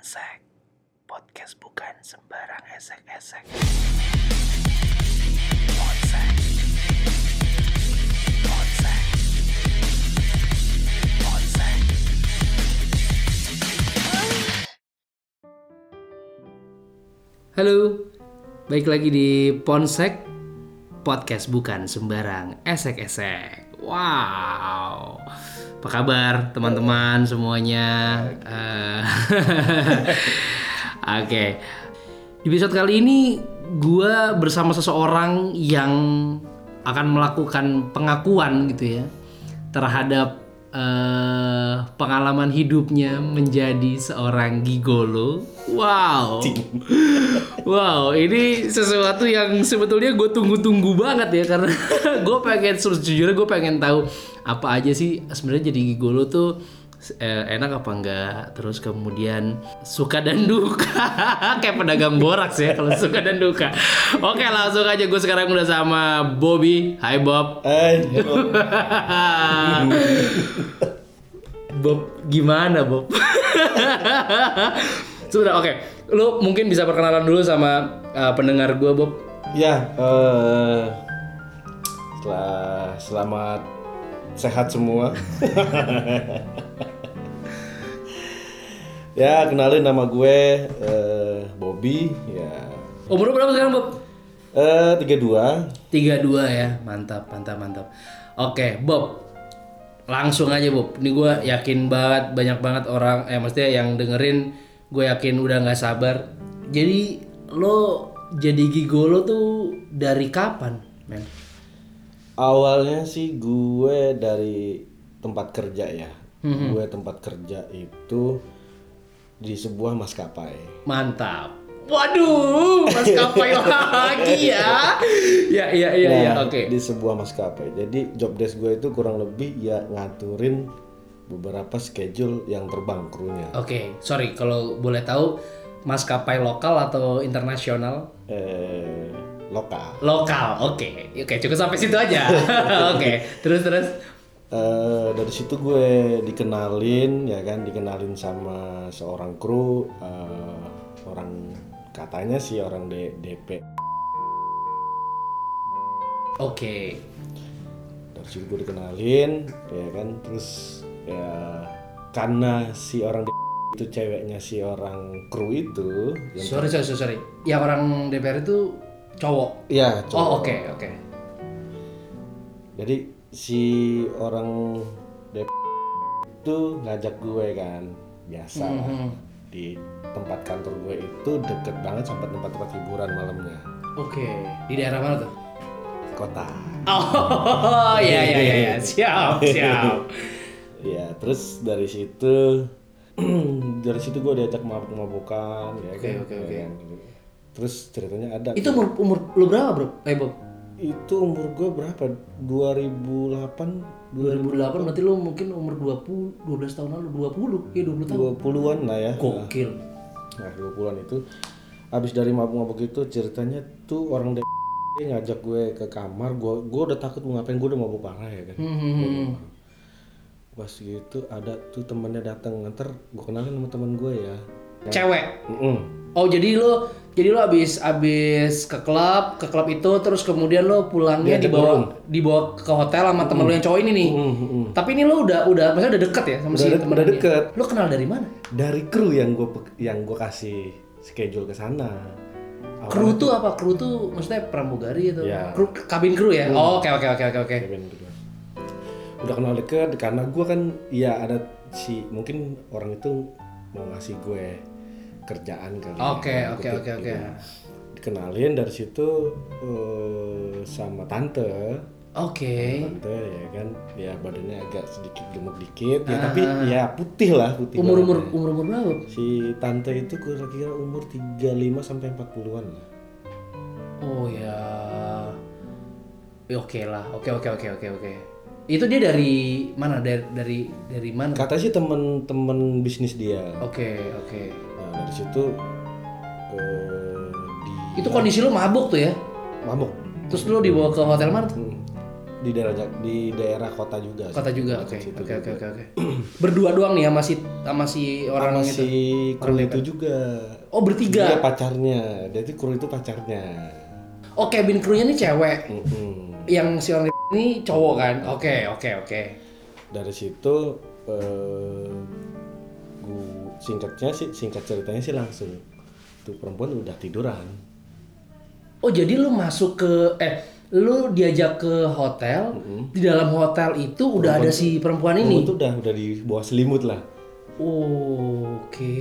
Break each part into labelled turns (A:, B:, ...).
A: Esek. Podcast bukan sembarang esek-esek. Onsek. Onsek. Onsek.
B: Halo, baik lagi di Ponsek Podcast bukan sembarang esek-esek. Wow, apa kabar teman-teman semuanya? Eh, Oke, di episode kali ini gua bersama seseorang yang akan melakukan pengakuan gitu ya terhadap eh, pengalaman hidupnya menjadi seorang gigolo. Wow. Wow, ini sesuatu yang sebetulnya gue tunggu-tunggu banget ya karena gue pengen sejujurnya gue pengen tahu apa aja sih sebenarnya jadi gigolo tuh eh, enak apa enggak terus kemudian suka dan duka kayak pedagang boraks ya kalau suka dan duka oke langsung aja gue sekarang udah sama Bobby Hai Bob
C: Hai,
B: Bob gimana Bob sudah oke lu mungkin bisa perkenalan dulu sama eh, pendengar gue Bob
C: ya eh, setelah selamat sehat semua. ya kenalin nama gue eh, Bobby ya
B: Umur lu berapa sekarang, Bob?
C: eh 32
B: 32 ya. Mantap, mantap, mantap. Oke, Bob. Langsung aja, Bob. Ini gue yakin banget banyak banget orang eh maksudnya yang dengerin gue yakin udah nggak sabar. Jadi lo jadi gigolo tuh dari kapan, men?
C: awalnya sih gue dari tempat kerja ya gue tempat kerja itu di sebuah maskapai
B: Mantap. Waduh, mas kapai lagi ya. Ya, ya, ya, ya.
C: Nah,
B: Oke.
C: di sebuah maskapai. Jadi job desk gue itu kurang lebih ya ngaturin beberapa schedule yang terbang krunya.
B: Oke, sorry kalau boleh tahu maskapai lokal atau internasional?
C: Eh, lokal.
B: lokal oke oke cukup sampai situ aja oke terus terus
C: Eh, dari situ gue dikenalin ya kan, dikenalin sama seorang kru eh, orang katanya sih orang D- DP.
B: oke
C: Dari situ gue dikenalin ya kan, terus ya karena si orang D- itu ceweknya si orang kru itu yang
B: sorry sorry sorry, sorry yang orang DPR itu cowok
C: ya
B: oh
C: cowok.
B: oke oke
C: Jadi si orang DP itu ngajak gue kan biasa lah.
B: Mhm.
C: di tempat kantor gue itu deket banget sama tempat-tempat hiburan malamnya
B: oke di daerah mana tuh
C: kota.
B: oh ya ya ya ya siap siap
C: Ya terus dari situ dari situ gue diajak mabuk-mabukan ya
B: Oke,
C: kan,
B: oke,
C: ya
B: oke.
C: kan. Terus ceritanya ada
B: itu umur, umur lu berapa bro eh Bob
C: itu umur gue berapa 2008
B: 2008 berarti lu mungkin umur 20 12 tahun lalu 20 ya 20 tahun
C: 20-an lah ya.
B: gokil
C: Nah, 20-an itu habis dari mabuk-mabuk itu ceritanya tuh orang D- ngajak gue ke kamar, gue gua udah takut mau ngapain, gue udah mabuk parah ya kan.
B: Hmm, hmm, hmm.
C: Pas gitu ada tuh temennya datang, ntar gue kenalin sama temen gue ya.
B: cewek
C: Mm-mm.
B: Oh jadi lo jadi lo abis abis ke klub ke klub itu terus kemudian lo pulangnya
C: Diajak
B: dibawa dibawa ke hotel sama temen lo yang cowok ini nih.
C: Mm, mm, mm.
B: Tapi ini lo udah udah maksudnya udah deket ya sama si
C: Udah de-
B: temen
C: udah
B: dia?
C: deket.
B: Lo kenal dari mana?
C: Dari kru yang gue yang gue kasih schedule ke sana. Awalnya
B: Kru tuh apa? Kru tuh maksudnya pramugari atau
C: Iya.
B: kru kabin kru ya? Oh, Oke oke oke oke oke.
C: event kedua. gitu. Udah kenal deket karena gue kan ya ada si mungkin orang itu mau ngasih gue kerjaan kali. ya,
B: Oke,
C: tanda
B: oke,
C: kutip
B: oke,
C: gitu.
B: oke.
C: Dikenalin dari situ eh, sama tante.
B: Oke.
C: Tante ya kan, ya badannya agak sedikit gemuk dikit ya tapi ya putih lah putih.
B: Ah, Umur umur
C: banget ya.
B: umur umur berapa?
C: si tante itu kira-kira umur 35 sampai 40-an lah.
B: Oh ya. Ya, Oke lah. Oke oke oke oke oke. Itu dia dari mana? Dari dari dari mana? Oke
C: Katanya sih temen-temen bisnis dia.
B: oke.
C: Nah, dari situ eh, di
B: Itu kondisi lu mabuk tuh ya?
C: mabuk.
B: Terus lu dibawa ke hotel mana? tuh?
C: Hmm. di daerah Jak- di daerah kota juga. sih.
B: Kota juga, oke.
C: Dekat situ
B: Oke, oke,
C: juga.
B: oke, oke. Berdua doang nih ya masih sama si orang
C: Sama
B: itu.
C: si Iya, kru itu juga.
B: Oh,
C: Dia
B: bertiga.
C: pacarnya. Jadi kru itu pacarnya.
B: Oh, cabin crewnya nih cewek.
C: Mm-mm.
B: Yang si orang ini cowok kan? Oke, oke, oke.
C: Dari situ eh, gua- singkatnya sih singkat ceritanya sih langsung tuh perempuan udah tiduran.
B: Oh, jadi lu masuk ke eh lu diajak ke hotel. Di dalam hotel itu udah ada si perempuan
C: Mm-hmm. Perempuan
B: ini.
C: tuh udah udah di bawah selimut lah.
B: Oh, Oke,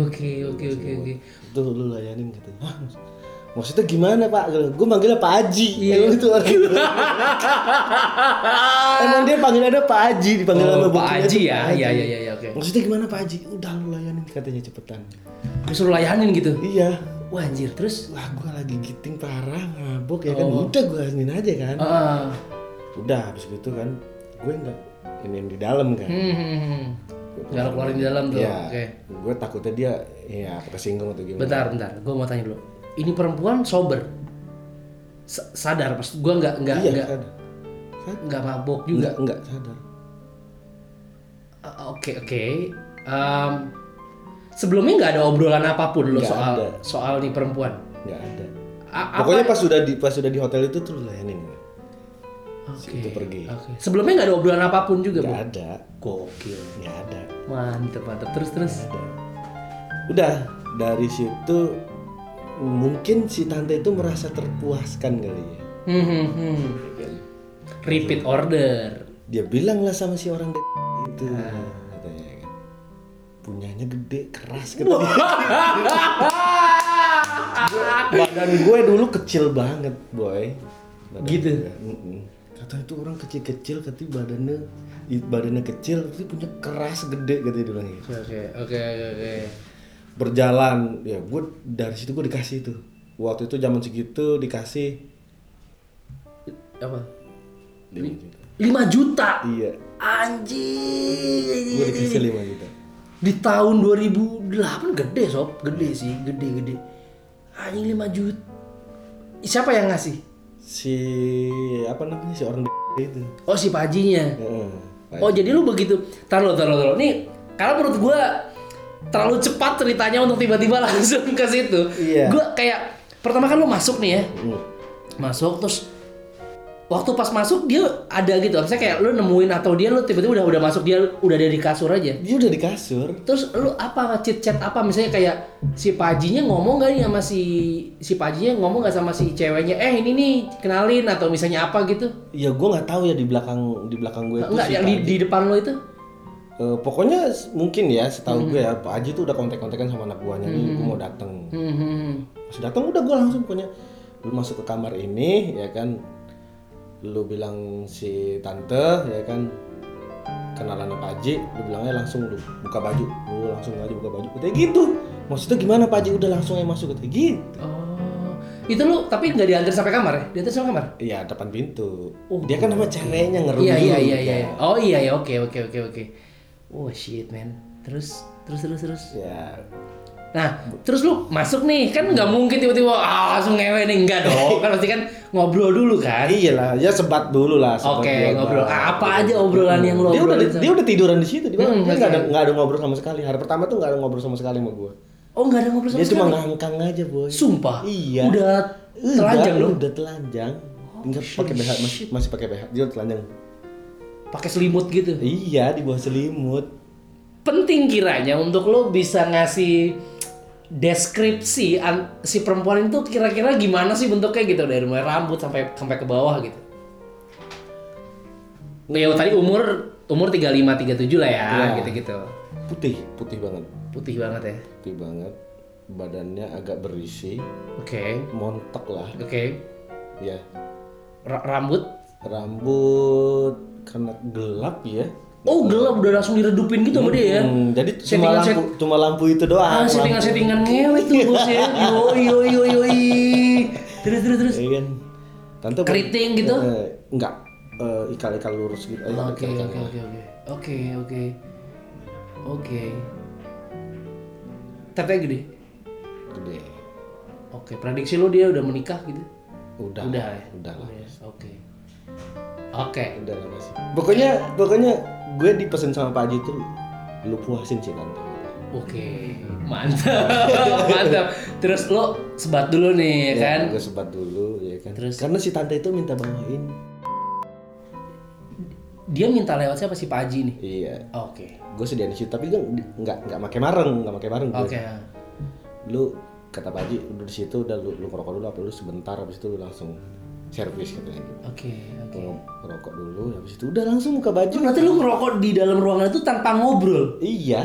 B: oke, oke, oke, oke.
C: Itu lu layanin katanya. Hah, maksudnya gimana pak? Gue manggilnya Pak Haji.
B: Iya.
C: Emang itu orang Emang dia panggilannya Pak Haji dipanggil sama
B: Oh,
C: bokapnya
B: Pak Haji
C: Ah! tuh
B: ya.
C: Pak
B: Iya,
C: Haji.
B: iya, iya, iya, oke.
C: Maksudnya gimana Pak Haji? Udah lu layanin katanya cepetan.
B: Disuruh layanin gitu.
C: Iya.
B: Wah, anjir. Terus
C: Wah gue lagi giting parah mabok ya kan.
B: Oh.
C: Udah gue layanin aja kan.
B: ah,
C: Udah habis gitu kan. Gue nggak ini yang di dalam kan.
B: hmm, hmm, hmm. Nggak lo keluarin di dalam tuh.
C: Iya.
B: Oke.
C: Gue takutnya dia ya kesinggung atau gimana.
B: Bentar, bentar. Gue mau tanya dulu. Ini perempuan sober, Sa- sadar pas gue nggak nggak
C: Iya
B: nggak
C: sadar. Sadar.
B: nggak mabok juga.
C: Enggak, enggak sadar.
B: Ah, Oke oke. Em, sebelumnya nggak ada obrolan apapun lo
C: Nggak
B: soal
C: ada.
B: soal nih perempuan.
C: Nggak ada.
B: A- apa-
C: Pokoknya pas sudah di pas sudah di hotel itu tuh layanin.
B: Oke,
C: itu pergi.
B: oke. Sebelumnya nggak ada obrolan apapun juga
C: Nggak
B: bu.
C: ada.
B: Gokil.
C: Nggak ada.
B: Mantep mantep. Terus terus.
C: Udah. Udah dari situ mungkin si tante itu merasa terpuaskan kali ya.
B: Hmm, hmm, hmm. Repeat order.
C: Dia bilang lah sama si orang itu katanya kan. Punyanya gede keras katanya. Badan gue dulu kecil banget, boy. Badan
B: Gitu?
C: gue, mm-mm. Katanya itu orang kecil-kecil katanya badannya i- badannya kecil tapi punya keras gede katanya dia bilang gitu.
B: Oke oke oke oke.
C: berjalan ya gue dari situ gue dikasih itu waktu itu zaman segitu dikasih
B: Apa?
C: lima juta
B: 5 juta.
C: iya gue
B: Anjing.
C: dikasih lima juta
B: Di tahun 2008 gede sob, gede sih, gede gede. Anjing 5 juta. Siapa yang ngasih?
C: si apa namanya si orang itu
B: Oh si Pak Hajinya.
C: Heeh.
B: Oh jadi lu begitu. Tar lo, tar lo, tar lo. Nih, karena menurut gua terlalu cepat ceritanya untuk tiba-tiba langsung ke situ.
C: Iya.
B: Gua kayak pertama kan lu masuk nih ya.
C: Hmm.
B: Masuk terus waktu pas masuk dia ada gitu. Maksudnya kayak lu nemuin atau dia lu tiba-tiba udah udah masuk dia udah dari kasur aja.
C: dia udah di kasur
B: Terus lu apa chit chat apa misalnya kayak si Pajinya ngomong gak nih sama si si Pajinya ngomong gak sama si ceweknya eh ini nih kenalin atau misalnya apa gitu
C: ya gue nggak tahu ya di belakang di belakang gue itu
B: enggak
C: si
B: yang
C: Pak
B: di,
C: Haji.
B: di depan lo itu
C: Eh, pokoknya s- mungkin ya setahu gue ya Pak Haji tuh udah kontak-kontakan sama anak buahnya nih gue mau dateng
B: Hmm, hmm, hmm.
C: pas datang udah gue langsung punya lu masuk ke kamar ini ya kan lu bilang si tante ya kan kenalan Pak Haji lu bilangnya langsung lu buka baju lu langsung aja buka baju kayak gitu maksudnya gimana Pak Haji udah langsung aja masuk kayak gitu
B: oh itu lu tapi nggak diantar sampai kamar ya diantar sampai kamar
C: iya depan pintu
B: Oh.
C: dia kan sama ceweknya ngerum
B: iya
C: dulu,
B: iya iya iya
C: kan.
B: oh iya ya oke oke oke oke oh shit man terus terus terus terus
C: ya
B: Nah, terus lu masuk nih, kan nggak
C: Hmm.
B: mungkin tiba-tiba ah, langsung ngewe nih, enggak dong. Kan pasti kan ngobrol dulu kan.
C: iyalah ya sebat dulu lah sebat
B: Oke,
C: dua
B: ngobrol.
C: bat.
B: Apa aja obrolan yang lo
C: dia udah
B: obrolin sama-
C: dia udah tiduran di situ di bawah.
B: Hmm,
C: Dia nggak ada
B: oke.
C: nggak ada ngobrol sama sekali hari pertama tuh nggak ada ngobrol sama sekali sama gue
B: Oh, nggak ada ngobrol sama
C: dia cuma
B: sekali.
C: ngangkang aja boy
B: Sumpah.
C: Iya.
B: Udah
C: Udah,
B: telanjang Oh, dong.
C: Udah telanjang. Enggak pakai BH masih masih pakai BH. Dia telanjang.
B: Pakai selimut gitu.
C: Iya, di bawah selimut.
B: Penting kiranya untuk lo bisa ngasih deskripsi an- si perempuan itu kira-kira gimana sih bentuknya gitu dari mulai rambut sampai sampai ke bawah gitu. Ya tadi umur umur 35 37 lah ya,
C: Iya.
B: gitu-gitu.
C: Putih, putih banget.
B: Putih banget ya.
C: Putih banget. Badannya agak berisi,
B: Oke.
C: montok lah.
B: Oke.
C: Ya.
B: Ra- rambut.
C: Rambut karena gelap ya.
B: Oh, gelap udah langsung diredupin gitu sama dia ya.
C: Hmm, jadi cuma
B: Settingan-
C: lampu, cuma lampu itu
B: Ah,
C: doang.
B: settingan-settingan ngewe tuh bos ya. Yo yo yo yo. i. Terus terus terus.
C: Iya kan? Tante
B: Keriting gitu?
C: Eh, enggak. Eh, ikal-ikal lurus gitu. Eh,
B: Oke
C: ikal-ikal.
B: oke oke oke. Oke oke. Oke. Tetenya gede.
C: Gede.
B: Oke, prediksi lu dia udah menikah gitu?
C: Udah.
B: Udah ya.
C: Udah lah.
B: Oke. Oke.
C: udah lama sih pokoknya pokoknya gue dipesen sama Pak Haji tuh lu puasin sih nanti
B: Oke. Mantap. Mantap. Terus lo sebat dulu nih ya kan.
C: gue sebat dulu ya kan
B: Terus?
C: karena si tante itu minta bawain
B: Dia minta lewat siapa sih Pak Haji nih?
C: iya
B: Oke.
C: gue sedih di situ tapi gue nggak nggak pakai mareng nggak pakai mareng gue
B: Oke.
C: lu kata Pak Haji udah di situ udah lu lu ngerokok dulu apa lu sebentar habis itu lu langsung servis katanya gitu
B: Oke. Oke.
C: Lu ngerokok dulu habis itu udah langsung buka baju
B: Berarti lu ngerokok di dalam ruangan itu tanpa ngobrol.
C: iya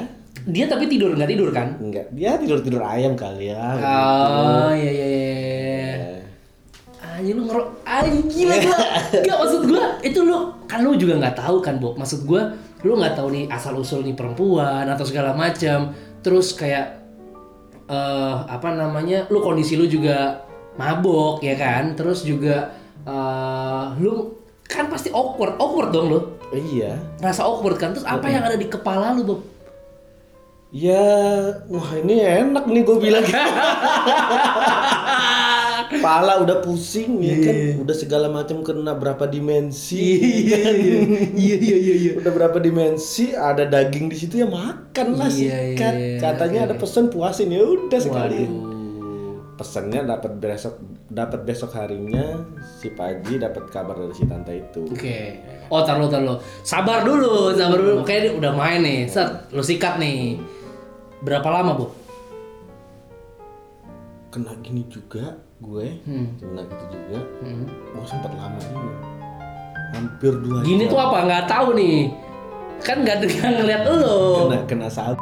B: Dia tapi tidur nggak tidur kan?
C: Enggak, dia tidur tidur ayam kali ya.
B: Oh iya iya iya. Anjir lu ngerok anjir lah gua. Enggak maksud gua itu lu kan lu juga nggak tahu kan Bob. Maksud gua lu nggak tahu nih asal usul nih perempuan atau segala macam. Terus kayak eh apa namanya? Lu kondisi lu juga mabok ya kan? Terus juga eh lu kan pasti awkward, awkward dong lu.
C: Iya.
B: Rasa awkward kan. Terus apa yang ada di kepala lu, Bob?
C: Ya, wah ini enak nih gue bilang. Kepala udah pusing ya kan, udah segala macam kena berapa dimensi. ya kan?
B: Iya iya iya iya iya.
C: Udah berapa dimensi, ada daging di situ ya makan lah
B: Iya,
C: sikat.
B: iya, iya.
C: Katanya ada pesan puasin ya udah sekali.
B: Waduh.
C: Pesannya dapat besok dapat besok harinya si Paji dapat kabar dari si tante itu.
B: Oke. Oh, tar lo, tar lo. Sabar dulu, sabar dulu. Kayaknya udah main nih. Set, lo sikat nih. Berapa lama, Bu?
C: Kena gini juga gue,
B: Hmm.
C: kena gitu juga.
B: Hmm.
C: Gue sempat lama juga. Hampir dua
B: Gini
C: jam.
B: tuh apa? Nggak tahu nih. Kan nggak nggak ngeliat lo.
C: kena kena saat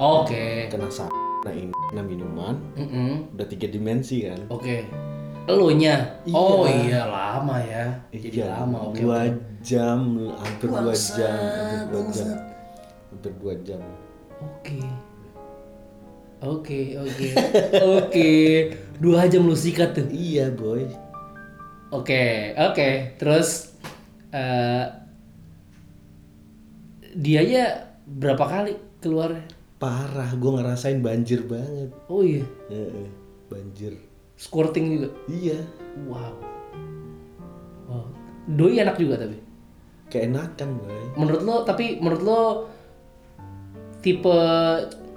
B: Oke.
C: kena saat kena ini kena minuman
B: Mm-mm.
C: udah tiga dimensi kan
B: Oke. Elunya. Oh
C: Iya.
B: iya lama ya. Jadi
C: Iya,
B: lama. Oke.
C: dua
B: oke.
C: jam hampir dua
B: Bangsat,
C: jam hampir dua jam
B: bangsat.
C: hampir dua jam
B: Oke. Oke, oke. Oke. Dua jam lo sikat tuh.
C: iya boy
B: Oke, oke. Terus eh dia ya berapa kali keluar?
C: parah gue ngerasain banjir banget
B: Oh iya,
C: Heeh, banjir
B: squirting juga.
C: iya
B: Wow. Wow. Doi enak juga tapi.
C: keenakan boy
B: Menurut lo, tapi menurut lo tipe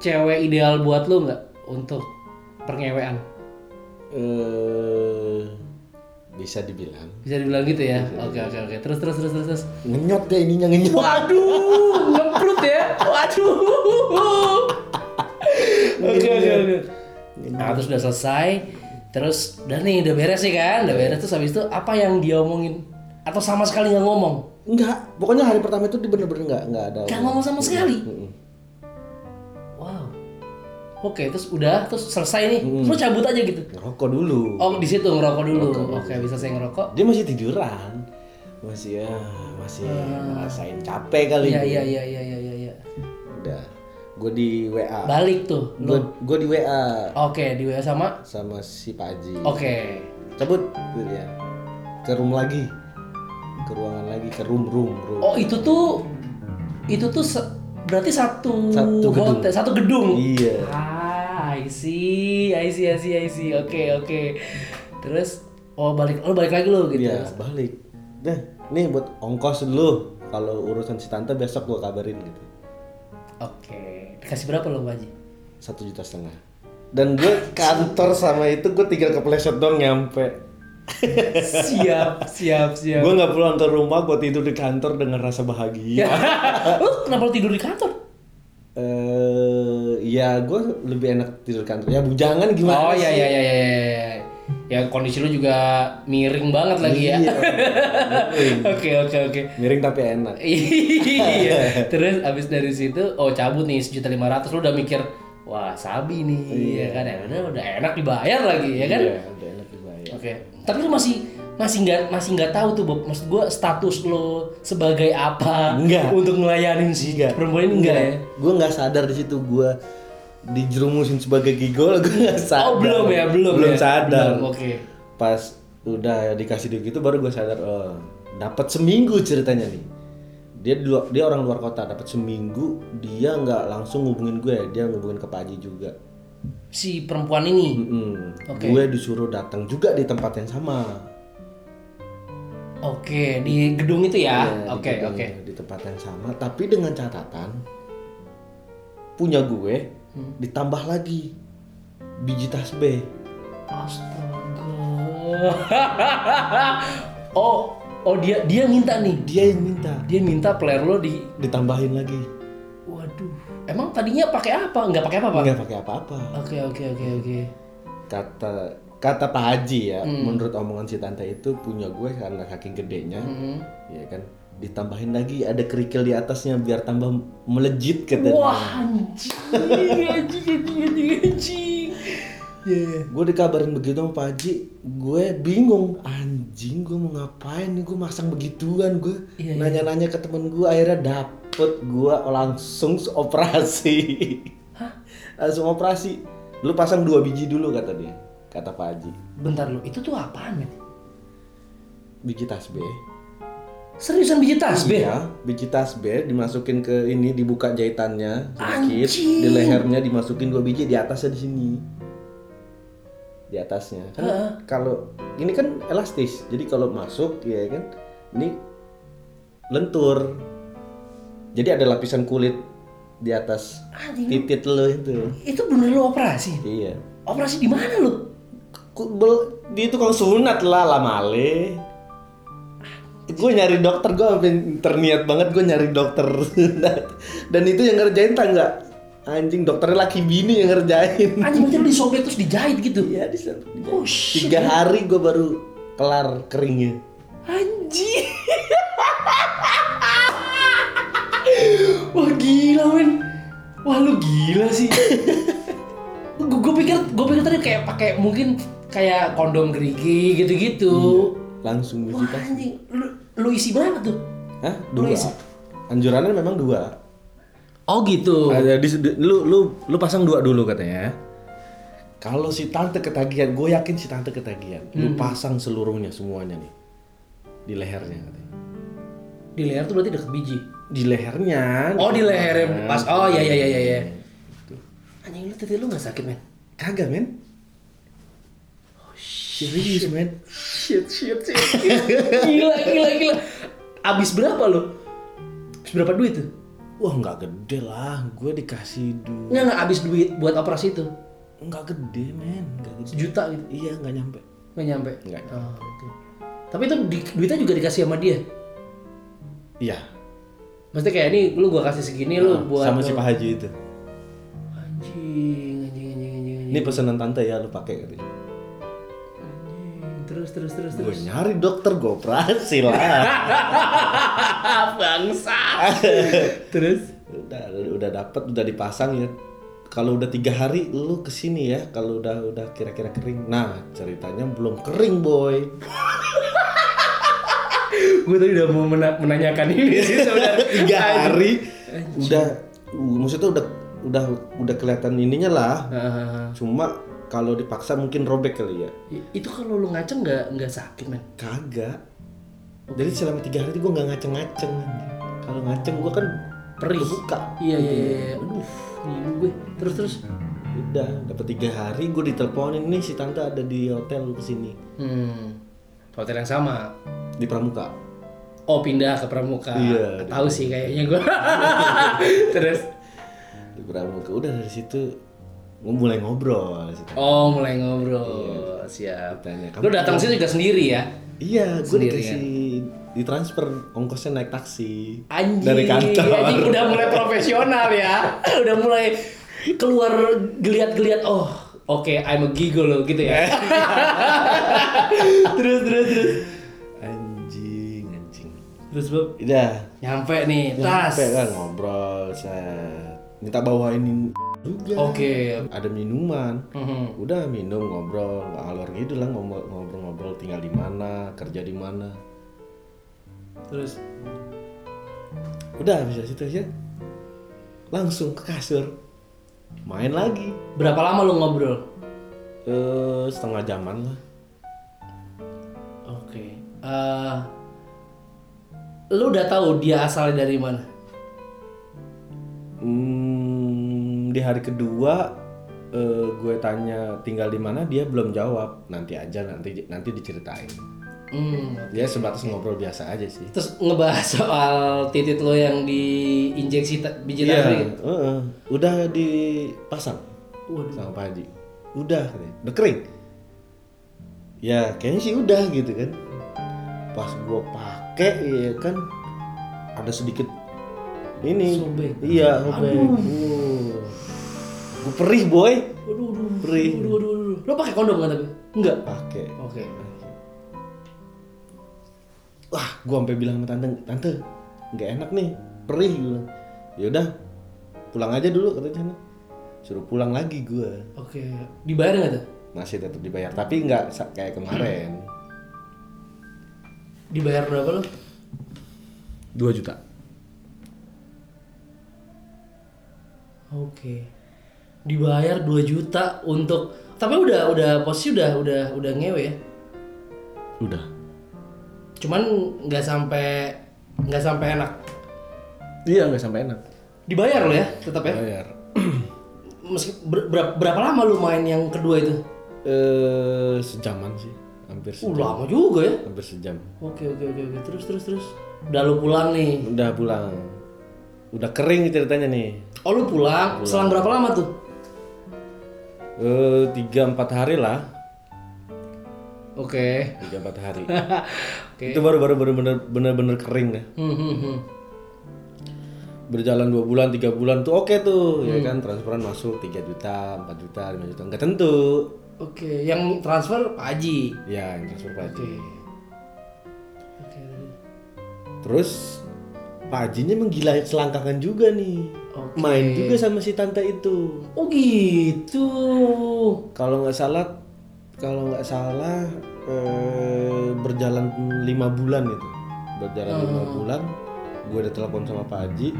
B: cewek ideal buat lo nggak untuk perngewean?
C: eh bisa dibilang
B: Bisa dibilang gitu ya? Oke, oke, oke. Terus, terus, terus, terus, terus.
C: ngenyot deh ininya ngenyot
B: Waduh, ngeprut ya. Waduh. Oke, oke, oke. Iya. Nah, terus udah selesai. Terus udah nih, udah beres sih kan? Udah beres terus habis itu apa yang dia omongin? Atau sama sekali nggak ngomong?
C: enggak pokoknya hari pertama itu dia bener-bener nggak nggak ada
B: Nggak ngomong sama sekali.
C: Mm-mm.
B: Wow. Oke, terus udah, terus selesai nih. Terus lu cabut aja gitu.
C: ngerokok dulu
B: Oh, di situ ngerokok dulu. Oke, bisa saya ngerokok.
C: dia masih tiduran masih ya masih ngerasain capek kali
B: Hmm. Iya, iya, iya, iya, iya, iya. Ya.
C: udah gue di WA
B: Balik tuh. Lu.
C: gue di WA
B: Oke, di WA sama.
C: sama si Pak Haji
B: Oke.
C: cabut gitu dia ke room lagi ke ruangan lagi ke room room room
B: Oh itu tuh itu tuh se- berarti satu,
C: Satu gedung.
B: hotel satu gedung.
C: iya
B: Ah, I see, I see, I see, I see. Oke, oke. Terus oh balik oh balik lagi lo gitu.
C: dia Iya, balik dah nih buat ongkos dulu kalau urusan si tante besok gue kabarin gitu
B: Oke. Dikasih berapa lo Pak Haji?
C: satu juta setengah dan gue kantor sama itu gue tinggal kepleset dong nyampe
B: siap, siap, siap.
C: Gue nggak pulang ke rumah, gue tidur di kantor dengan rasa bahagia.
B: Ya, Lo kenapa lo tidur di kantor?
C: Eh, ya gue lebih enak tidur di kantor. Ya bujangan gimana
B: Oh iya
C: sih?
B: iya iya iya. iya. Ya kondisi lo juga miring banget lagi ya.
C: Iya. miring.
B: Oke, oke, oke.
C: Miring tapi enak.
B: iya. Terus abis dari situ, oh cabut nih sejuta lima ratus, lu udah mikir, wah sabi nih, ya kan, ya udah udah enak dibayar lagi, ya kan?
C: Iya, udah enak dibayar.
B: Oke. Tapi lu masih masih nggak masih nggak tahu tuh, Bob. Maksud gua status lo sebagai apa
C: Enggak.
B: untuk ngelayanin si perempuan ini enggak ya?
C: Gue nggak sadar di situ gue dijerumusin sebagai gigol, gue nggak sadar.
B: Oh belum ya, belum.
C: Belum
B: ya?
C: sadar.
B: Belum, Oke.
C: Pas udah dikasih duit gitu baru gue sadar, oh dapat seminggu ceritanya nih. Dia di luar- dia orang luar kota, dapat seminggu dia nggak langsung ngubungin gue, dia ngubungin ke Pak Haji juga.
B: Si perempuan
C: Hmm.
B: ini.
C: Mm-mm.
B: Oke.
C: Gue disuruh datang juga di tempat yang sama.
B: Oke, di gedung itu ya.
C: Iya, di
B: Oke,
C: gedung,
B: oke.
C: Di tempat yang sama, tapi dengan catatan punya gue
B: Hmm.
C: ditambah lagi biji tasbih.
B: Astaga. oh, oh dia dia minta nih.
C: Dia yang minta
B: Dia minta player lo di
C: ditambahin lagi.
B: Waduh. Emang tadinya pakai apa? Nggak pakai apa, Pak?
C: Nggak pakai apa-apa.
B: Oke, oke, oke, oke.
C: Kata kata Pak Haji ya, menurut omongan si tante itu punya gue karena saking gedenya,
B: Hmm.
C: ya kan ditambahin lagi ada kerikil di atasnya biar tambah melejit katanya.
B: Wah, anjing, anjing, anjing, anjing, anjing. Yeah.
C: Gue dikabarin begitu sama Pak Haji, gue bingung. Anjing gue mau ngapain nih, gue masang begituan gue.
B: Iya, iya.
C: Nanya-nanya ke temen gue, akhirnya dapet gue langsung operasi. langsung operasi. Lu pasang dua biji dulu kata dia, kata Pak Haji.
B: Bentar lo, itu tuh apaan, men?
C: Biji tasbih.
B: Seriusan biji tasbih?
C: Iya, biji tasbih dimasukin ke ini, dibuka jahitannya sedikit.
B: Anjing.
C: Di lehernya dimasukin dua biji, di atasnya di sini. Di atasnya. Kan
B: Heeh.
C: kalau ini kan elastis. Jadi kalau masuk ya kan ini lentur. Jadi ada lapisan kulit di atas
B: Anjing.
C: titit lo itu.
B: Itu bener lo operasi?
C: Iya.
B: Operasi di mana lo?
C: Ku- bel- Di tukang sunat lah lamale. Gue nyari dokter, gue terniat banget gue nyari dokter sunat. Dan itu yang ngerjain tangga. Anjing dokternya laki bini yang ngerjain.
B: Anjing berarti lo disobek terus dijahit gitu.
C: Iya di sana.
B: Oh shit.
C: Tiga hari gue baru kelar keringnya.
B: Anjing. Wah gila men. Wah lu gila sih. gue pikir gue pikir tadi kayak pakai mungkin kayak kondom gerigi
C: Iya.
B: gitu-gitu.
C: Langsung
B: Wah
C: biji tas.
B: anjing, lu, lu isi berapa tuh?
C: Hah?
B: Lu
C: Dua.
B: isi.
C: Anjurannya memang dua.
B: Oh gitu.
C: Ada di- di- lu lu lu pasang dua dulu katanya. Kalau si tante ketagihan, gue yakin si tante ketagihan. Lu pasang seluruhnya semuanya nih di lehernya katanya.
B: Di leher tuh berarti deket biji.
C: Di lehernya.
B: Oh di lehernya
C: Nah,
B: pas. Oh ya ya ya ya
C: iya.
B: ya. Anjing lu tadi lu nggak sakit men?
C: Kagak men. Oh, Serius men.
B: Shit, shit, shit. gila, gila, gila. Abis berapa lo? Abis berapa duit tuh?
C: Wah nggak gede lah, gue dikasih duit.
B: Nggak, nggak abis duit buat operasi itu.
C: Nggak gede men, nggak gede.
B: Sejuta gitu.
C: Iya nggak nyampe.
B: Nggak nyampe.
C: Nggak
B: Oh, oke. Tapi itu di- duitnya juga dikasih sama dia.
C: Iya.
B: Maksudnya kayak ini lu gua kasih segini lu buat
C: Sama si Pak Haji itu.
B: Anjing, anjing, anjing, anjing. anjing.
C: Ini pesanan tante ya lu pakai katanya.
B: Terus, terus, terus, terus.
C: Gue nyari dokter gue operasi lah.
B: Ah, Bangsa. terus.
C: udah udah dapat udah dipasang ya. Kalau udah tiga hari lu kesini ya. Kalau udah udah kira-kira kering. Nah ceritanya belum kering boy.
B: Gue tadi udah mau mena- menanyakan ini sih sebenarnya.
C: tiga hari udah uh, maksudnya udah udah udah kelihatan ininya lah.
B: Ah,
C: Cuma kalau dipaksa mungkin robek kali ya.
B: itu kalau lu ngaceng nggak nggak sakit men?
C: Kagak. Jadi selama tiga hari gue nggak ngaceng-ngaceng. Kalau ngaceng gue kan
B: Perih.
C: kebuka.
B: Iya iya iya. iya. Aduh, ngilu gue. Terus terus.
C: Udah, dapat tiga hari gue diteleponin nih si tante ada di hotel lu kesini
B: Hmm. Hotel yang sama.
C: di Pramuka.
B: Oh pindah ke Pramuka.
C: Iya,
B: Tahu sih kayaknya gue. terus.
C: Di Pramuka udah dari situ gue mulai ngobrol si tante.
B: Oh mulai ngobrol. Siap.
C: Tanya,
B: Lu datang sini juga sendiri ya?
C: Iya, gue
B: Sendirian.
C: dikasih ditransfer ongkosnya naik taksi
B: Anjing. iya,
C: dari kantor.
B: Anjing udah mulai profesional ya. udah mulai keluar geliat-geliat. Oh, oke, I'm a gigolo gitu ya. terus terus terus.
C: Anjing, anjing.
B: Terus Bob
C: Udah,
B: nyampe nih. Tas.
C: sampai kan ngobrol, set. minta bawain ini juga.
B: Oke.
C: Ada minuman.
B: Mhm.
C: udah minum ngobrol nggak alur gitu lah ngomong- ngobrol-ngobrol tinggal di mana kerja di mana
B: Terus
C: udah bisa situ aja langsung ke kasur main lagi
B: Berapa lama lu ngobrol?
C: eh setengah jaman lah
B: Oke. Eh, lu udah tahu dia asalnya dari mana?
C: Hmm, di hari kedua eh, gue tanya tinggal di mana dia belum jawab nanti aja nanti nanti diceritain
B: Hmm.
C: dia sebatas ngobrol biasa aja sih
B: Terus ngebahas soal titit lo yang diinjeksi ta- biji
C: Iya,
B: tabrik.
C: heeh. udah dipasang
B: Waduh.
C: sama Pak Haji. Udah, katanya. udah kering. Ya, kayaknya sih udah gitu kan. Pas gua pakai ya kan ada sedikit ini.
B: Sobek.
C: Iya, sobek. Uh. Gua perih, boy.
B: Waduh, waduh,
C: Perih.
B: waduh, waduh, waduh. Lo pakai kondom kan tapi? Enggak.
C: Pakai.
B: Oke.
C: Wah, gua sampai bilang sama tante, "Tante, nggak enak nih, perih." Gua bilang. Ya udah, pulang aja dulu katanya. Suruh pulang lagi gua.
B: Oke. Dibayar nggak tuh?
C: Masih tetap dibayar, tapi nggak sa- kayak kemarin.
B: Dibayar berapa lo?
C: 2 juta.
B: Oke. Dibayar 2 juta untuk tapi udah udah posisi udah udah udah ngewe ya.
C: Udah.
B: Cuman nggak sampai nggak sampai enak.
C: Iya nggak sampai enak. Oh, iya.
B: Dibayar lo ya, tetap ya.
C: Bayar.
B: Meski ber- berapa, berapa lama lu main yang kedua itu?
C: Eh sejaman sih, hampir
B: Uh,
C: sejam.
B: lama juga ya.
C: Hampir sejam.
B: Oke oke oke oke. Terus terus terus. Udah lu pulang nih.
C: Udah pulang. Udah kering ceritanya nih.
B: Oh lu pulang. Selang berapa lama tuh?
C: Eh tiga empat hari lah.
B: Oke.
C: Tiga empat hari.
B: Oke.
C: Itu baru baru baru bener bener bener kering dah.
B: Hmm, hmm, hmm.
C: Berjalan dua bulan tiga bulan tuh oke tuh, ya kan transferan masuk 3 juta 4 juta 5 juta nggak tentu.
B: Oke, yang transfer Pak Haji.
C: Ya yang transfer Pak Haji.
B: Oke.
C: Terus Pak Hajinya menggila selangkangan juga nih.
B: Oke.
C: Main juga sama si tante itu.
B: Oh gitu.
C: kalau nggak salah kalau nggak salah eh, berjalan lima bulan itu berjalan lima bulan gue ada telepon sama Pak Haji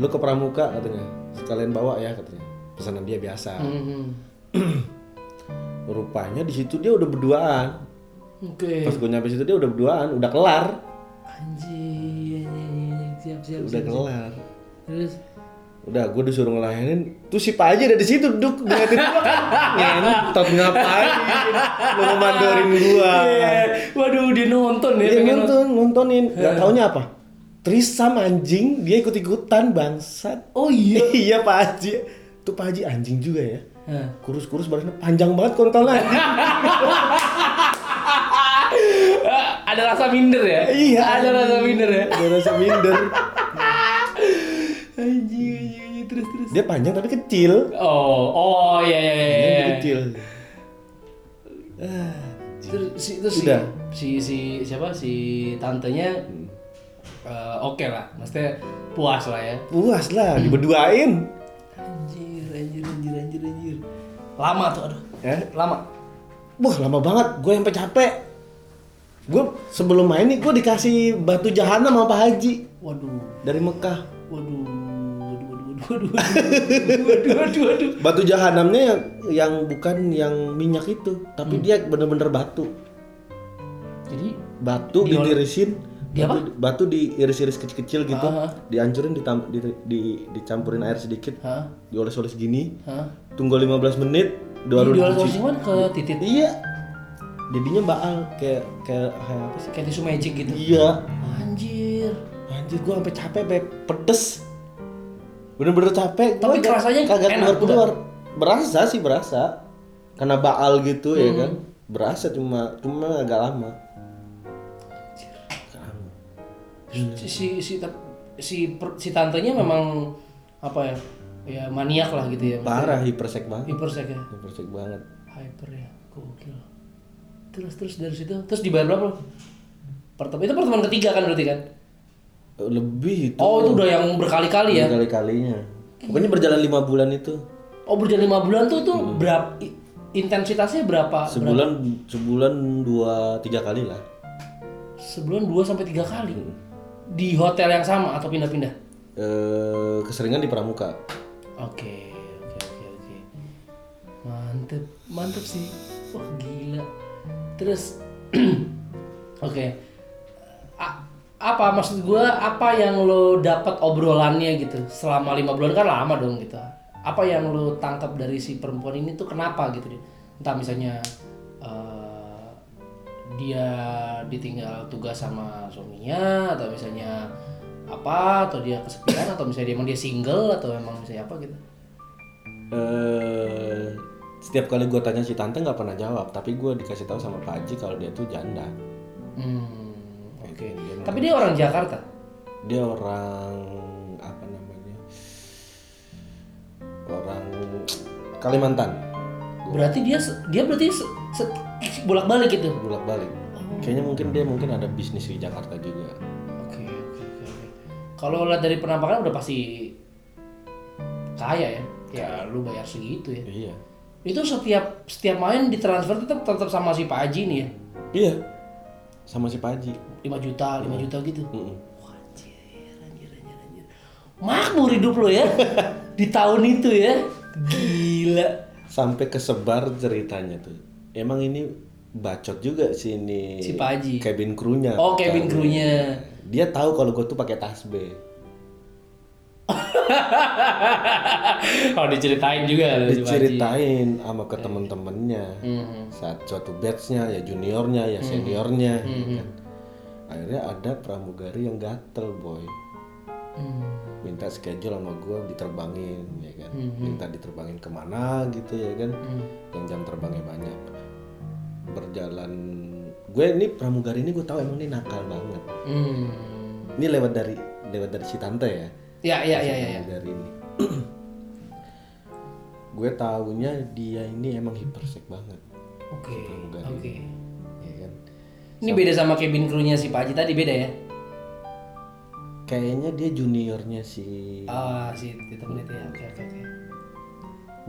C: lu ke Pramuka katanya sekalian bawa ya katanya pesanan dia biasa
B: Hmm, hmm.
C: rupanya di situ dia udah berduaan
B: Oke.
C: pas gue nyampe situ dia udah berduaan udah kelar
B: Anjir, anjir, anjir. siap siap
C: udah
B: siap.
C: kelar
B: Terus
C: udah gue disuruh ngelayanin tuh si Pak Haji ada di situ duduk ngeliatin gue ngentot ngapain lu mau mandorin gue
B: Eh, waduh dia nonton ya
C: Dia
B: pengen nonton.
C: nonton, nontonin. Gak taunya apa? Trisam anjing, dia ikut-ikutan bangsat.
B: Oh iya.
C: iya Pak Haji. Tuh Pak Haji anjing juga ya.
B: Hah.
C: Kurus-kurus badannya panjang banget kontolnya.
B: Eh, ada rasa minder ya?
C: Iya,
B: Ada rasa minder ya?
C: Dia rasa minder.
B: Anjir, anjir, anjir. terus terus.
C: Dia panjang tapi kecil.
B: Oh, oh iya iya iya.
C: Dia
B: iya.
C: kecil.
B: Terus si terus si,
C: Udah. Hmm.
B: si si siapa si tantenya eh, oke lah, maksudnya puas lah ya.
C: Puas lah, diberduain.
B: Anjir, anjir, anjir, anjir, anjir. Lama tuh aduh.
C: Eh?
B: Lama.
C: Wah lama banget, gue sampai capek. Gue sebelum main nih, gue dikasih batu jahanam sama Pak Haji.
B: Waduh.
C: Dari Mekah.
B: Waduh. Waduh, waduh, waduh, waduh, waduh, waduh, waduh.
C: Batu jahanamnya yang, yang bukan yang minyak itu,
B: Hmm.
C: tapi dia bener-bener batu.
B: Jadi,
C: Batu
B: Di-
C: diirisin,
B: di
C: batu, batu diiris-iris kecil-kecil gitu,
B: Ah.
C: dihancurin ditam- di- di- dicampurin air sedikit,
B: hah?
C: dioles-oles gini,
B: Hah?
C: tunggu 15 menit,
B: Di
C: baru
B: dual
C: dicuci.
B: kan ke titik
C: Iya. Jadinya baal kayak kayak kayak apa sih?
B: kayak tisu magic gitu.
C: Iya.
B: Anjir.
C: Anjir gua sampai capek, Beb. Pedes. Bener-bener capek.
B: Tapi
C: gak-
B: rasanya
C: kagak
B: enak,
C: keluar-keluar. Berasa sih berasa. Karena baal gitu ya
B: Hmm.
C: kan. Berasa cuma cuma agak lama. Hmm.
B: Si si si si, per- si tantenya memang apa ya? Ya maniak lah gitu ya.
C: Parah hipersek banget.
B: Hypersek ya.
C: Hipersek banget.
B: Hyper ya. Gokil. Terus terus dari situ terus dibayar berapa? lo? Pertem itu pertemuan ketiga kan berarti kan?
C: Lebih itu.
B: Oh, itu udah yang berkali-kali ya.
C: Kali-kalinya. Pokoknya berjalan lima bulan itu.
B: Oh, berjalan lima bulan tuh tuh berapa i- intensitasnya berapa?
C: Hmm. Sebulan sebulan dua tiga kali lah.
B: Sebulan 2 sampai 3 kali.
C: Hmm.
B: Di hotel yang sama atau pindah-pindah?
C: Eh, keseringan di pramuka.
B: Oke, oke, oke, oke. Mantep, mantep sih. Wah, gila. Terus oke. A- apa maksud gua apa yang lo dapat obrolannya gitu selama lima bulan kan lama dong gitu apa yang lo tangkap dari si perempuan ini tuh kenapa gitu dia entah misalnya eh, dia ditinggal tugas sama suaminya atau misalnya apa atau dia kesepian atau misalnya dia, emang dia single atau emang misalnya apa gitu
C: eh setiap kali gue tanya si tante nggak pernah jawab tapi gue dikasih tahu sama Pak Haji kalau dia tuh janda
B: hmm, oke
C: Dia mau-
B: tapi dia orang Jakarta
C: dia orang apa namanya orang Kalimantan
B: berarti dia se- dia berarti se- se- bolak balik gitu oke
C: bolak balik kayaknya mungkin dia mungkin ada bisnis di Jakarta juga
B: oke oke, oke. kalau lihat dari penampakan udah pasti kaya ya ya lu bayar segitu ya
C: iya
B: itu setiap setiap main ditransfer tetap tetap sama si Pak Haji nih ya
C: iya sama si Pak Haji
B: 5 juta 5 juta gitu
C: Mm-mm.
B: Anjir, anjir, anjir, anjir. Makmur hidup lo ya di tahun itu ya. Gila.
C: sampai kesebar ceritanya tuh emang ini bacot juga sih ini
B: Si Pak Haji.
C: cabin krunya
B: Oh, cabin krunya.
C: dia tahu kalau gue tuh pakai tasbih
B: Oh diceritain juga lo, Pak Haji.
C: diceritain sama
B: Iya.
C: ke temen-temennya
B: Mhm.
C: saat suatu batchnya ya juniornya ya seniornya ya kan. akhirnya ada pramugari yang gatel boy
B: Hmm.
C: minta schedule sama gue diterbangin ya kan
B: Mhm.
C: minta diterbangin kemana gitu ya kan yang jam terbangnya banyak berjalan gue ini pramugari ini gue tahu emang ini nakal banget
B: Hmm.
C: ini lewat dari lewat dari si tante ya
B: Ya, ya, ya, ya. ya.
C: pramugari ini gue taunya dia ini emang hipersek banget
B: Oke.
C: Pramugari.
B: Oke.
C: ya kan
B: Ini beda sama cabin krunya si Pak Haji tadi beda ya?
C: kayaknya dia juniornya sih
B: Ah, si temen itu ya. Oke, oke, oke.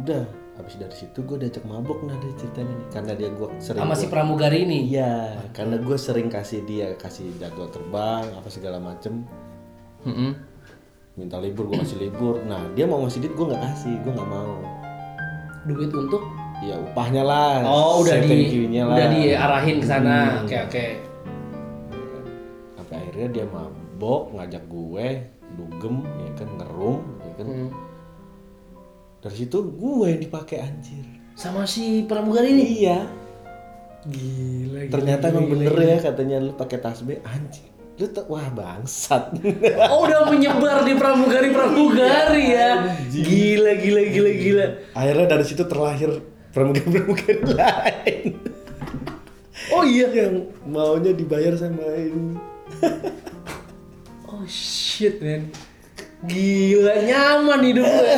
C: udah habis dari situ gue diajak mabok nah dia ceritanya nih karena dia gue sering
B: Sama si pramugari ini.
C: Iya, karena gue sering kasih dia kasih jadwal terbang apa segala macem.
B: Heeh.
C: Minta libur gue kasih libur. Nah dia mau ngasih duit gue nggak kasih, gue nggak mau.
B: Duit untuk
C: Ya upahnya lah.
B: Oh, udah di
C: CTQ-nya lah. Hmm.
B: udah diarahin ke sana. Oke, oke.
C: Sampai akhirnya dia mabok ngajak gue dugem ya kan ngerum ya kan.
B: Hmm.
C: Dari situ gue yang dipakai anjir.
B: Sama si pramugari ini.
C: Iya.
B: Gila. gila,
C: Ternyata
B: gila,
C: emang
B: gila,
C: bener
B: gila.
C: ya katanya lu pakai tasbih anjir. Lu tuh wah bangsat.
B: Oh udah menyebar di pramugari-pramugari ya. Gila gila gila gila.
C: akhirnya dari situ terlahir pramugari-pramugari lain.
B: Oh iya.
C: yang maunya dibayar sama ini
B: Oh shit man. Gila nyaman hidup gue.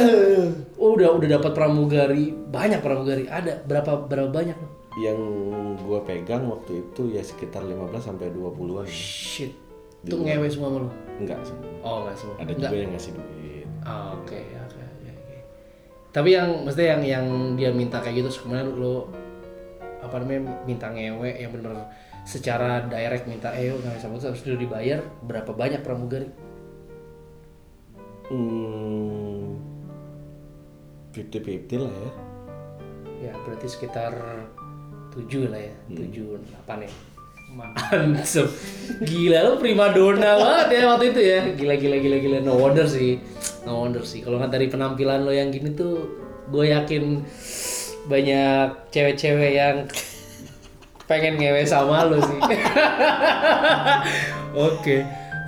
B: Oh, udah udah dapat pramugari, banyak pramugari. Ada berapa berapa banyak lo?
C: yang gua pegang waktu itu ya sekitar 15 sampai 20-an
B: Shit. Itu ngewe semua sama lo.
C: enggak sih
B: Oh, enggak semua.
C: ada juga yang ngasih duit
B: Ah, Oke, oke, oke, oke. Tapi yang maksudnya yang yang dia minta kayak gitu sebenarnya lo apa namanya minta ngewe yang benar secara direct minta eh nggak bisa putus harus dulu dibayar berapa banyak pramugari
C: hmm 50-50 lah ya
B: ya berarti sekitar tujuh lah ya tujuh delapan ya mantep gila lo primadona banget ya waktu itu ya gila gila gila gila no wonder sih no wonder sih kalau nggak dari penampilan lo yang gini tuh gue yakin banyak cewek-cewek yang pengen ngewe sama lo sih oke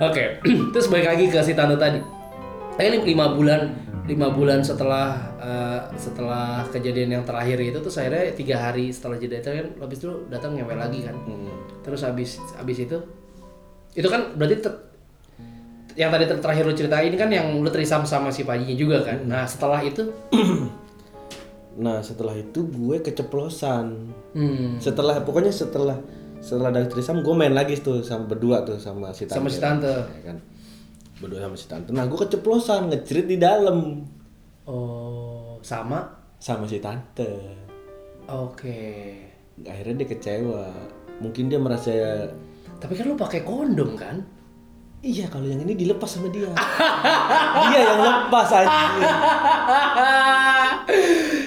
B: oke terus balik lagi ke si tante tadi Kayaknya lim- lima bulan lima bulan setelah eh, setelah kejadian yang terakhir itu terus akhirnya tiga hari setelah jeda itu kan habis itu datang ngewe lagi kan terus habis habis itu itu kan berarti ter- yang tadi ter- terakhir lu ceritain kan yang lu terisam sama si Pajinya juga kan nah setelah itu
C: nah setelah itu gue keceplosan
B: hmm,
C: setelah pokoknya setelah setelah dari trisam gue main lagi tuh sama berdua tuh sama si tante
B: sama si tante
C: ya kan berdua sama si tante nah gue keceplosan ngecerit di dalam
B: oh sama
C: sama si tante
B: oke
C: akhirnya dia kecewa mungkin dia merasa
B: tapi kan lu pakai kondom kan
C: iya kalau yang ini dilepas sama dia dia yang lepas aja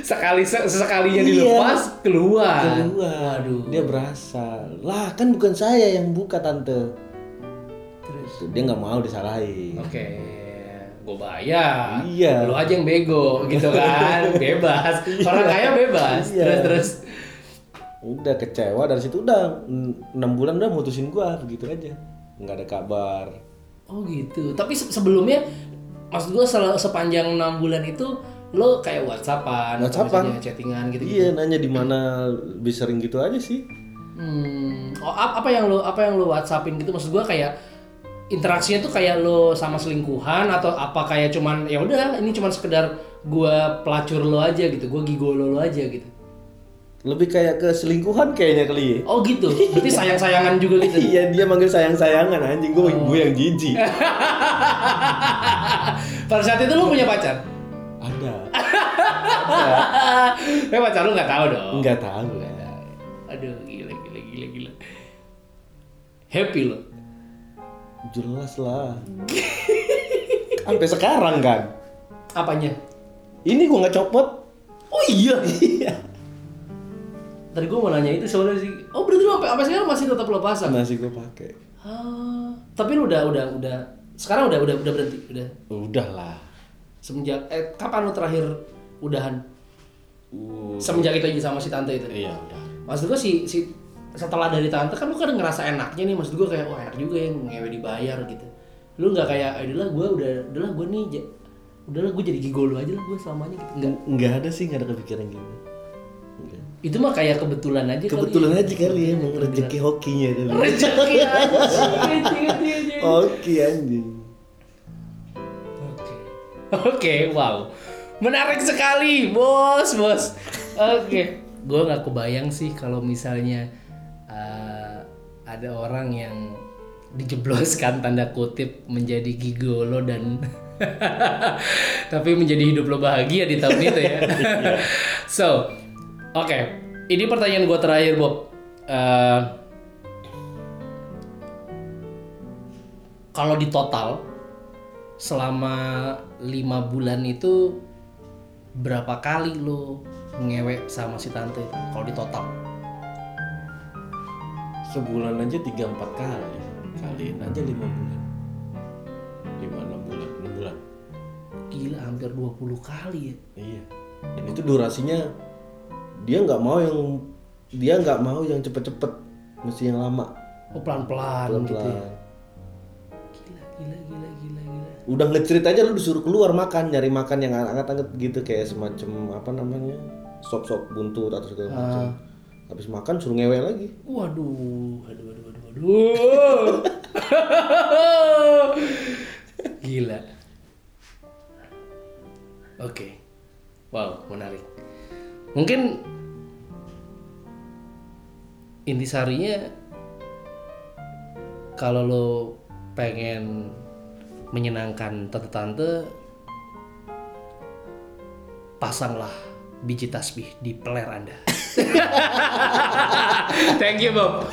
B: sekali se- sesekalinya
C: Iya.
B: dilepas keluar.
C: keluar
B: Waduh.
C: dia berasa lah kan bukan saya yang buka tante
B: Terus.
C: Tuh, dia nggak mau disalahin
B: Oke. Gue bayar.
C: Iya.
B: Lu aja yang Iya. bego gitu kan. bebas. Orang kaya bebas.
C: Iya.
B: Terus terus.
C: udah kecewa dari situ udah en- enam bulan udah mutusin gua begitu aja nggak ada kabar
B: Oh gitu. Tapi se- sebelumnya maksud gua sel- sepanjang enam bulan itu lo kayak WhatsAppan, atau
C: WhatsAppan.
B: misalnya chattingan gitu.
C: iya nanya di mana lebih sering gitu aja sih
B: Hmm. Oh, ap- apa yang lo apa yang lo WhatsAppin gitu maksud gua kayak interaksinya tuh kayak lo sama selingkuhan atau apa kayak cuman ya udah ini cuman sekedar gua pelacur lo aja gitu, gua gigolo lo aja gitu.
C: lebih kayak ke selingkuhan kayaknya kali ya
B: Oh gitu. Berarti sayang-sayangan juga gitu.
C: iya dia manggil sayang sayangan anjing gua gua yang jijik
B: Pada saat itu lo punya pacar?
C: ada
B: Eh pacar lo nggak tahu dong.
C: nggak tahu ya
B: Aduh, gila gila gila gila. Happy lo.
C: jelas lah sampai sekarang kan
B: Apanya?
C: ini gua nggak copot
B: Oh iya. Tadi gue mau nanya itu soalnya sih. Oh berarti lo sampai sampai sekarang masih tetap lo pasang?
C: masih gua pakai
B: Ah, tapi lo udah udah udah sekarang udah udah udah berhenti udah
C: udah lah
B: semenjak eh kapan lo terakhir udahan
C: Uh,
B: semenjak itu aja sama si tante itu
C: iya udah
B: maksud gue si si setelah dari tante kan lu kan ngerasa enaknya nih maksud gue kayak wah enak juga yang ngewe dibayar gitu lu nggak kayak adalah gue udah adalah gue nih ja- udahlah gue jadi gigolo aja lah gue selamanya gitu enggak
C: nggak nggak ada sih nggak ada kepikiran gitu Nggak.
B: itu mah kayak kebetulan aja
C: kebetulan
B: kali. Iya,
C: aja kali ya emang rezeki hokinya kali
B: rezeki anjing, anjing, anjing.
C: hoki anjing
B: Oke. Oke, wow. Menarik sekali, bos, bos. Oke. Gue nggak kebayang sih kalau misalnya eh, ada orang yang dijebloskan tanda kutip menjadi gigolo dan tapi menjadi hidup lo bahagia di tahun itu ya. so, oke. Ini pertanyaan gue terakhir, Bob. Eh, kalau di total, selama lima bulan itu berapa kali lo ngewek sama si tante itu kalau di total
C: sebulan aja tiga empat kali kaliin aja lima bulan lima enam bulan enam bulan
B: gila hampir 20 kali ya
C: iya dan itu durasinya dia nggak mau yang dia nggak mau yang cepet-cepet mesti yang lama
B: oh pelan-pelan gitu ya gila
C: pelan-pelan
B: gila gila gila gila
C: udah ngecerit aja lu disuruh keluar makan nyari makan yang anget-anget gitu kayak semacam apa namanya sop-sop buntut atau segala macam
B: Ah.
C: habis makan suruh ngewe lagi
B: waduh waduh waduh waduh waduh gila oke wow menarik mungkin intisarinya kalau lo pengen menyenangkan tante-tante pasanglah biji tasbih di peler anda thank you Bob